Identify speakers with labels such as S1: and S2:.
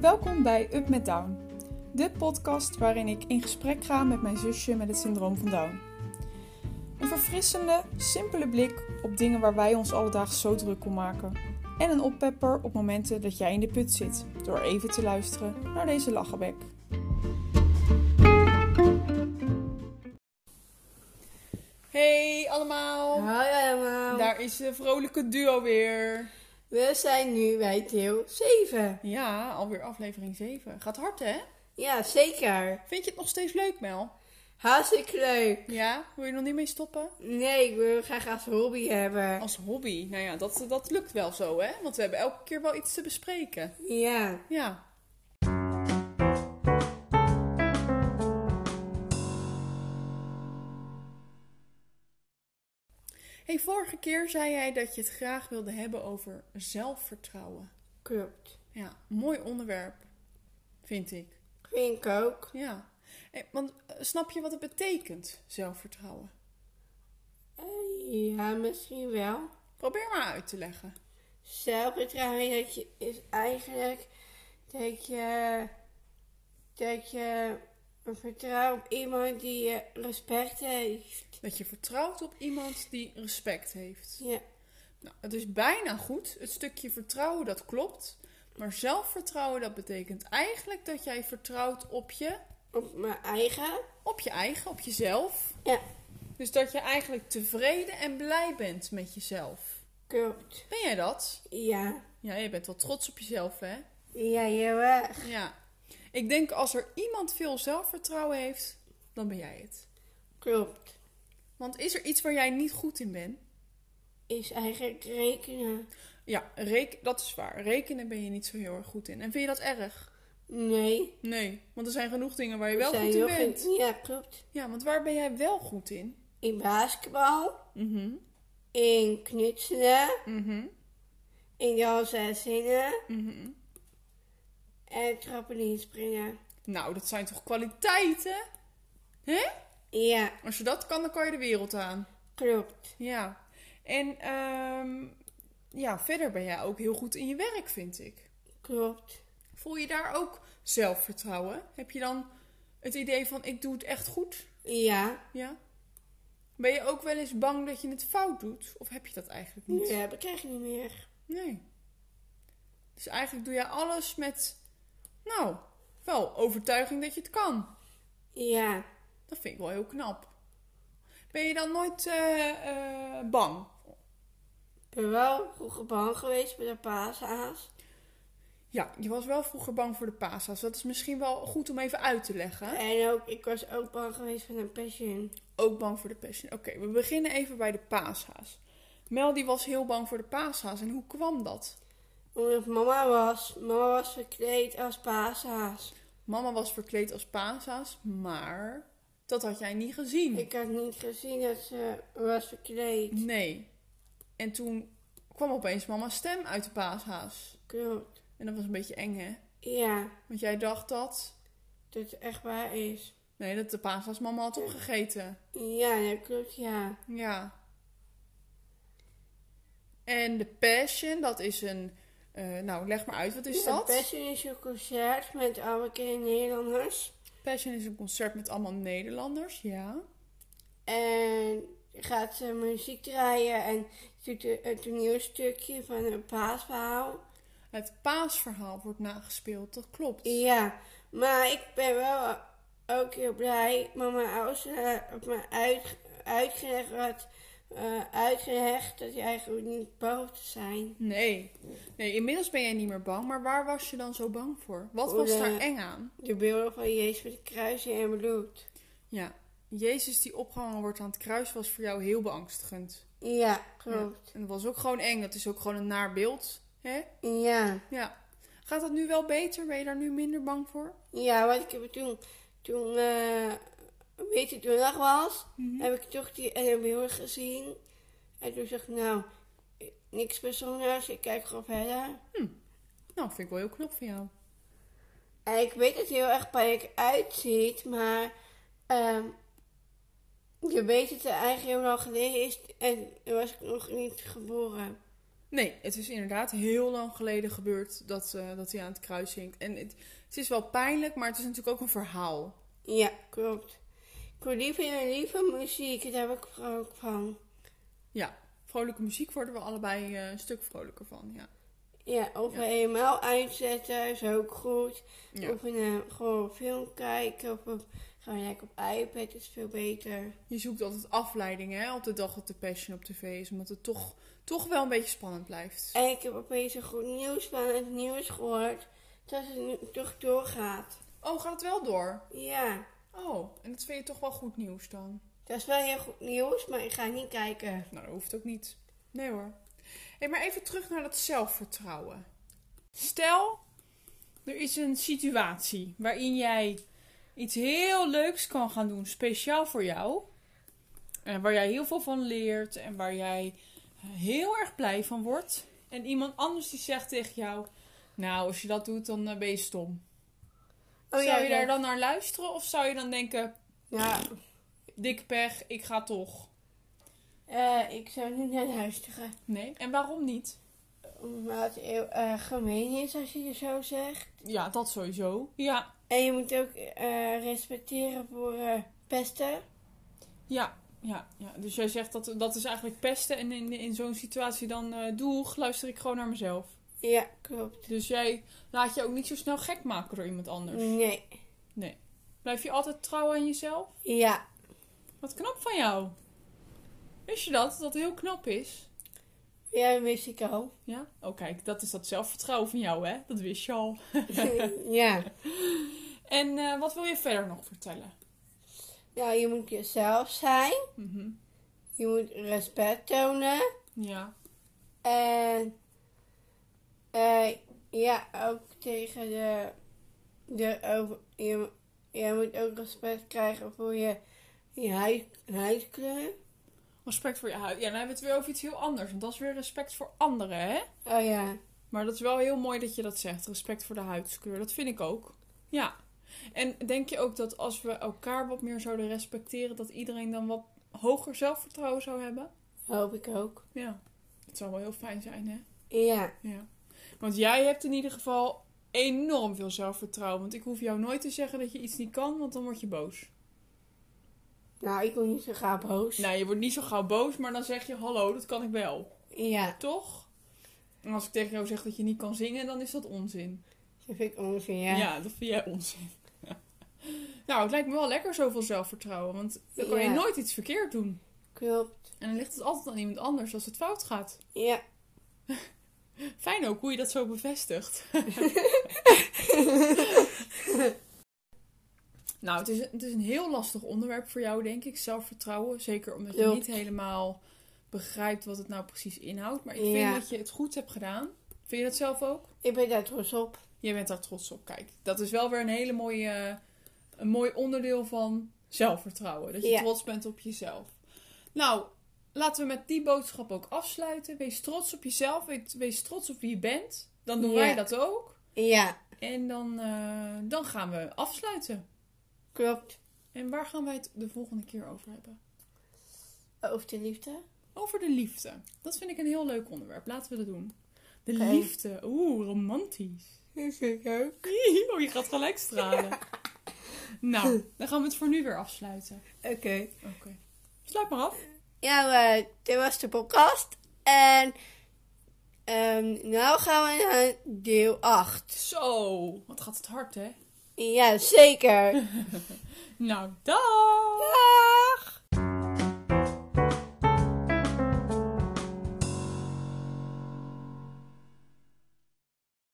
S1: Welkom bij Up met Down, de podcast waarin ik in gesprek ga met mijn zusje met het syndroom van Down. Een verfrissende, simpele blik op dingen waar wij ons alledaags zo druk om maken. En een oppepper op momenten dat jij in de put zit, door even te luisteren naar deze lachenbek. Hey allemaal!
S2: Hoi allemaal.
S1: Daar is de vrolijke duo weer.
S2: We zijn nu bij deel 7.
S1: Ja, alweer aflevering 7. Gaat hard hè?
S2: Ja, zeker.
S1: Vind je het nog steeds leuk, Mel?
S2: Hartstikke leuk.
S1: Ja? Wil je er nog niet mee stoppen?
S2: Nee, ik wil het graag als hobby hebben.
S1: Als hobby. Nou ja, dat, dat lukt wel zo, hè? Want we hebben elke keer wel iets te bespreken.
S2: Ja.
S1: Ja. Hey, vorige keer zei jij dat je het graag wilde hebben over zelfvertrouwen.
S2: Klopt.
S1: Ja, mooi onderwerp, vind ik.
S2: Vind ik ook.
S1: Ja. Eh, Want eh, snap je wat het betekent, zelfvertrouwen?
S2: Eh, Ja, misschien wel.
S1: Probeer maar uit te leggen.
S2: Zelfvertrouwen dat je, is eigenlijk dat je, dat je vertrouwt op iemand die je respect heeft.
S1: Dat je vertrouwt op iemand die respect heeft.
S2: Ja.
S1: Nou, het is bijna goed. Het stukje vertrouwen, dat klopt. Maar zelfvertrouwen, dat betekent eigenlijk dat jij vertrouwt op je,
S2: Op mijn eigen.
S1: op je eigen, op jezelf.
S2: Ja.
S1: Dus dat je eigenlijk tevreden en blij bent met jezelf.
S2: Klopt.
S1: Ben jij dat?
S2: Ja.
S1: Ja, je bent wel trots op jezelf, hè?
S2: Ja, heel erg.
S1: Ja. Ik denk als er iemand veel zelfvertrouwen heeft, dan ben jij het.
S2: Klopt.
S1: Want is er iets waar jij niet goed in bent?
S2: is eigenlijk rekenen.
S1: Ja, reken, dat is waar. Rekenen ben je niet zo heel erg goed in. En vind je dat erg?
S2: Nee.
S1: Nee, want er zijn genoeg dingen waar je wel
S2: Zijn
S1: goed in
S2: heel
S1: bent.
S2: goed- Ja, klopt.
S1: Ja, want waar ben jij wel goed in?
S2: In basketbal,
S1: Mhm.
S2: in knutselen,
S1: Mhm.
S2: in dansen en zingen
S1: Mhm.
S2: en trampolinespringen.
S1: Nou, dat zijn toch kwaliteiten? Hè?
S2: Ja,
S1: Als je dat kan, dan kan je de wereld aan.
S2: klopt.
S1: Ja. En ehm, ja, verder ben jij ook heel goed in je werk, vind ik.
S2: Klopt.
S1: Voel je daar ook zelfvertrouwen? Heb je dan het idee van ik doe het echt goed?
S2: Ja,
S1: Ja. Ben je ook wel eens bang dat je het fout doet? Of heb je dat eigenlijk niet?
S2: nu heb ik echt niet meer.
S1: Nee. Dus eigenlijk doe jij alles met, nou, wel overtuiging dat je het kan.
S2: Ja,
S1: Dat vind ik wel heel knap. Ben je dan nooit eh, eh, bang?
S2: ik ben wel vroeger bang geweest bij de paashaas.
S1: Ja, je was wel vroeger bang voor de paashaas. Dat is misschien wel goed om even uit te leggen.
S2: En ook, ik was ook bang geweest van een pensioen.
S1: Ook bang voor de passion. Oké, we beginnen even bij de paashaas. Mel die was heel bang voor de paashaas. En hoe kwam dat?
S2: Omdat mama was, mama was verkleed als paashaas.
S1: Mama was verkleed als paashaas, maar dat had jij niet gezien.
S2: Ik had niet gezien dat ze was verkleed.
S1: Nee. En toen kwam opeens mama's stem uit de paashaas.
S2: Klopt.
S1: En dat was een beetje eng, hè?
S2: Ja,
S1: Want jij dacht dat...
S2: dat het echt waar is.
S1: Nee, dat de paashaas mama had opgegeten.
S2: Ja, dat klopt, ja.
S1: Ja. En de passion, dat is een... eh, nou, leg maar uit, wat is dat?
S2: Best is een concert met alle bekende Nederlanders.
S1: Passion is een concert met allemaal Nederlanders, ja.
S2: En gaat ze muziek draaien en doet een een toneelstukje van een paasverhaal.
S1: Het paasverhaal wordt nagespeeld, dat klopt.
S2: Ja, maar ik ben wel ook heel blij. Mama ouders eh, op me uit, uitgelegd had, eh, uitgelegd dat je eigenlijk niet boos te zijn.
S1: Nee. Nee, inmiddels ben jij niet meer bang. Maar waar was je dan zo bang voor? Wat
S2: Voor
S1: was
S2: de-
S1: daar eng aan?
S2: De beelden van Jezus met de kruisen en bloed.
S1: Ja, Jezus die opgehangen wordt aan het kruis was voor jou heel beangstigend.
S2: Ja,
S1: Ja.
S2: klopt.
S1: En dat was ook gewoon eng. Dat is ook gewoon een naar beeld. Hè?
S2: ja.
S1: Ja. Gaat dat nu wel beter? Ben je daar nu minder bang voor?
S2: Ja, want ik heb het toen, toen eh, een beetje donderdag was, heb ik toch die NMB'er gezien. En toen dacht ik, nou, niks bijzonders, ik kijk gewoon verder.
S1: Nou, vind ik wel heel knap van jou.
S2: En ik weet dat het heel erg pijnlijk uitziet, maar ehm, je weet dat het eigenlijk heel lang geleden is en toen was ik nog niet geboren.
S1: Nee, het is inderdaad heel lang geleden gebeurd dat, eh, dat hij aan het kruis hinkt. En het, het is wel pijnlijk, maar het is natuurlijk ook een verhaal.
S2: Ja, klopt. Ik hoor liever en liever muziek, daar heb ik ook van.
S1: Ja, vrolijke muziek worden we allebei eh, een stuk vrolijker van. Ja.
S2: Ja, of we eenmaal uitzetten is ook goed.
S1: Ja.
S2: Of een, eh, gewoon een film kijken. Of we gaan lekker op iPad, is veel beter.
S1: Je zoekt altijd afleiding hè, op de dag dat de passion op tv is, omdat het toch, toch wel een beetje spannend blijft.
S2: En ik heb opeens een goed nieuws van het nieuws gehoord. Dat het nu toch doorgaat.
S1: Oh, gaat het wel door?
S2: Ja,
S1: Oh, en dat vind je toch wel goed nieuws dan?
S2: dat is wel heel goed nieuws, maar ik ga niet kijken.
S1: Nou, dat hoeft ook niet. Nee hoor. Hey, maar even terug naar dat zelfvertrouwen. Stel, er is een situatie waarin jij iets heel leuks kan gaan doen, speciaal voor jou. En waar jij heel veel van leert en waar jij heel erg blij van wordt. En iemand anders die zegt tegen jou, nou, als je dat doet, dan eh, ben je stom. zou je Oh daar dan naar luisteren of zou je dan denken,
S2: Ja,
S1: dikke pech, ik ga toch?
S2: eh, ik zou nu naar luisteren.
S1: Nee, en waarom niet?
S2: Omdat het heel eh, gemeen is als je het zo zegt.
S1: Ja, dat sowieso. Ja,
S2: En je moet ook eh, respecteren voor eh, pesten.
S1: Ja, ja, ja. Dus jij zegt dat dat is eigenlijk pesten. En in, in zo'n situatie dan eh doeg, luister ik gewoon naar mezelf.
S2: Ja, klopt.
S1: Dus jij laat je ook niet zo snel gek maken door iemand anders.
S2: Nee.
S1: Blijf je altijd trouw aan jezelf?
S2: Ja.
S1: Wat knap van jou. Wist je dat? Dat dat heel knap is.
S2: Ja, dat wist ik al.
S1: Ja? Oh kijk, dat is dat zelfvertrouwen van jou hè? Dat wist je al.
S2: ja.
S1: En eh, wat wil je verder nog vertellen?
S2: Nou, je moet jezelf zijn.
S1: Mhm.
S2: Je moet respect tonen.
S1: Ja.
S2: En eh, ja, ook tegen de... de over, je, je moet ook respect krijgen voor je, je huid, huidkleur.
S1: Respect voor je huid. Ja, dan hebben we het weer over iets heel anders. Want dat is weer respect voor anderen hè?
S2: Oh ja.
S1: Maar dat is wel heel mooi dat je dat zegt. Respect voor de huidskleur. Dat vind ik ook. Ja. En denk je ook dat als we elkaar wat meer zouden respecteren, dat iedereen dan wat hoger zelfvertrouwen zou hebben?
S2: Hoop ik ook.
S1: Ja. Dat zou wel heel fijn zijn, hè?
S2: Ja.
S1: Ja. Want jij hebt in ieder geval enorm veel zelfvertrouwen. Want ik hoef jou nooit te zeggen dat je iets niet kan, want dan word je boos.
S2: Nou, ik word niet zo gaaf boos.
S1: Nou, je wordt niet zo gauw boos, maar dan zeg je: Hallo, dat kan ik wel.
S2: Ja,
S1: Toch? En als ik tegen jou zeg dat je niet kan zingen, dan is dat onzin.
S2: dat vind ik onzin,
S1: Ja,
S2: ja.
S1: dat vind jij onzin. nou, het lijkt me wel lekker zoveel zelfvertrouwen. Want dan kan je
S2: Ja.
S1: nooit iets verkeerd doen.
S2: Klopt.
S1: En dan ligt het altijd aan iemand anders als het fout gaat.
S2: Ja.
S1: Fijn ook hoe je dat zo bevestigt. nou, het is, het is een heel lastig onderwerp voor jou, denk ik. Zelfvertrouwen. Zeker omdat je
S2: Klopt.
S1: niet helemaal begrijpt wat het nou precies inhoudt. Maar ik
S2: Ja.
S1: vind dat je het goed hebt gedaan. Vind je dat zelf ook?
S2: Ik ben daar trots op.
S1: Je bent daar trots op. Kijk, dat is wel weer een hele mooie, eh, een mooi onderdeel van zelfvertrouwen. Dat je
S2: Ja.
S1: trots bent op jezelf. Nou, laten we met die boodschap ook afsluiten. Wees trots op jezelf. Wees, wees trots op wie je bent. Dan doen
S2: Ja.
S1: wij dat ook.
S2: Ja,
S1: En dan, eh, dan gaan we afsluiten.
S2: klopt.
S1: En waar gaan wij het de volgende keer over hebben?
S2: Over de liefde.
S1: Over de liefde. Dat vind ik een heel leuk onderwerp. Laten we dat doen. De
S2: Oké.
S1: liefde. Oeh, romantisch.
S2: Dat vind ik ook.
S1: Oh, je gaat gelijk stralen. Nou, dan gaan we het voor nu weer afsluiten.
S2: Oké.
S1: Oké. Sluit maar af.
S2: Nou, eh, dit was de podcast. En ehm nou gaan we naar deel 8.
S1: Zo, wat gaat het hard, hè?
S2: Ja, zeker.
S1: Nou, dag!
S2: Bye!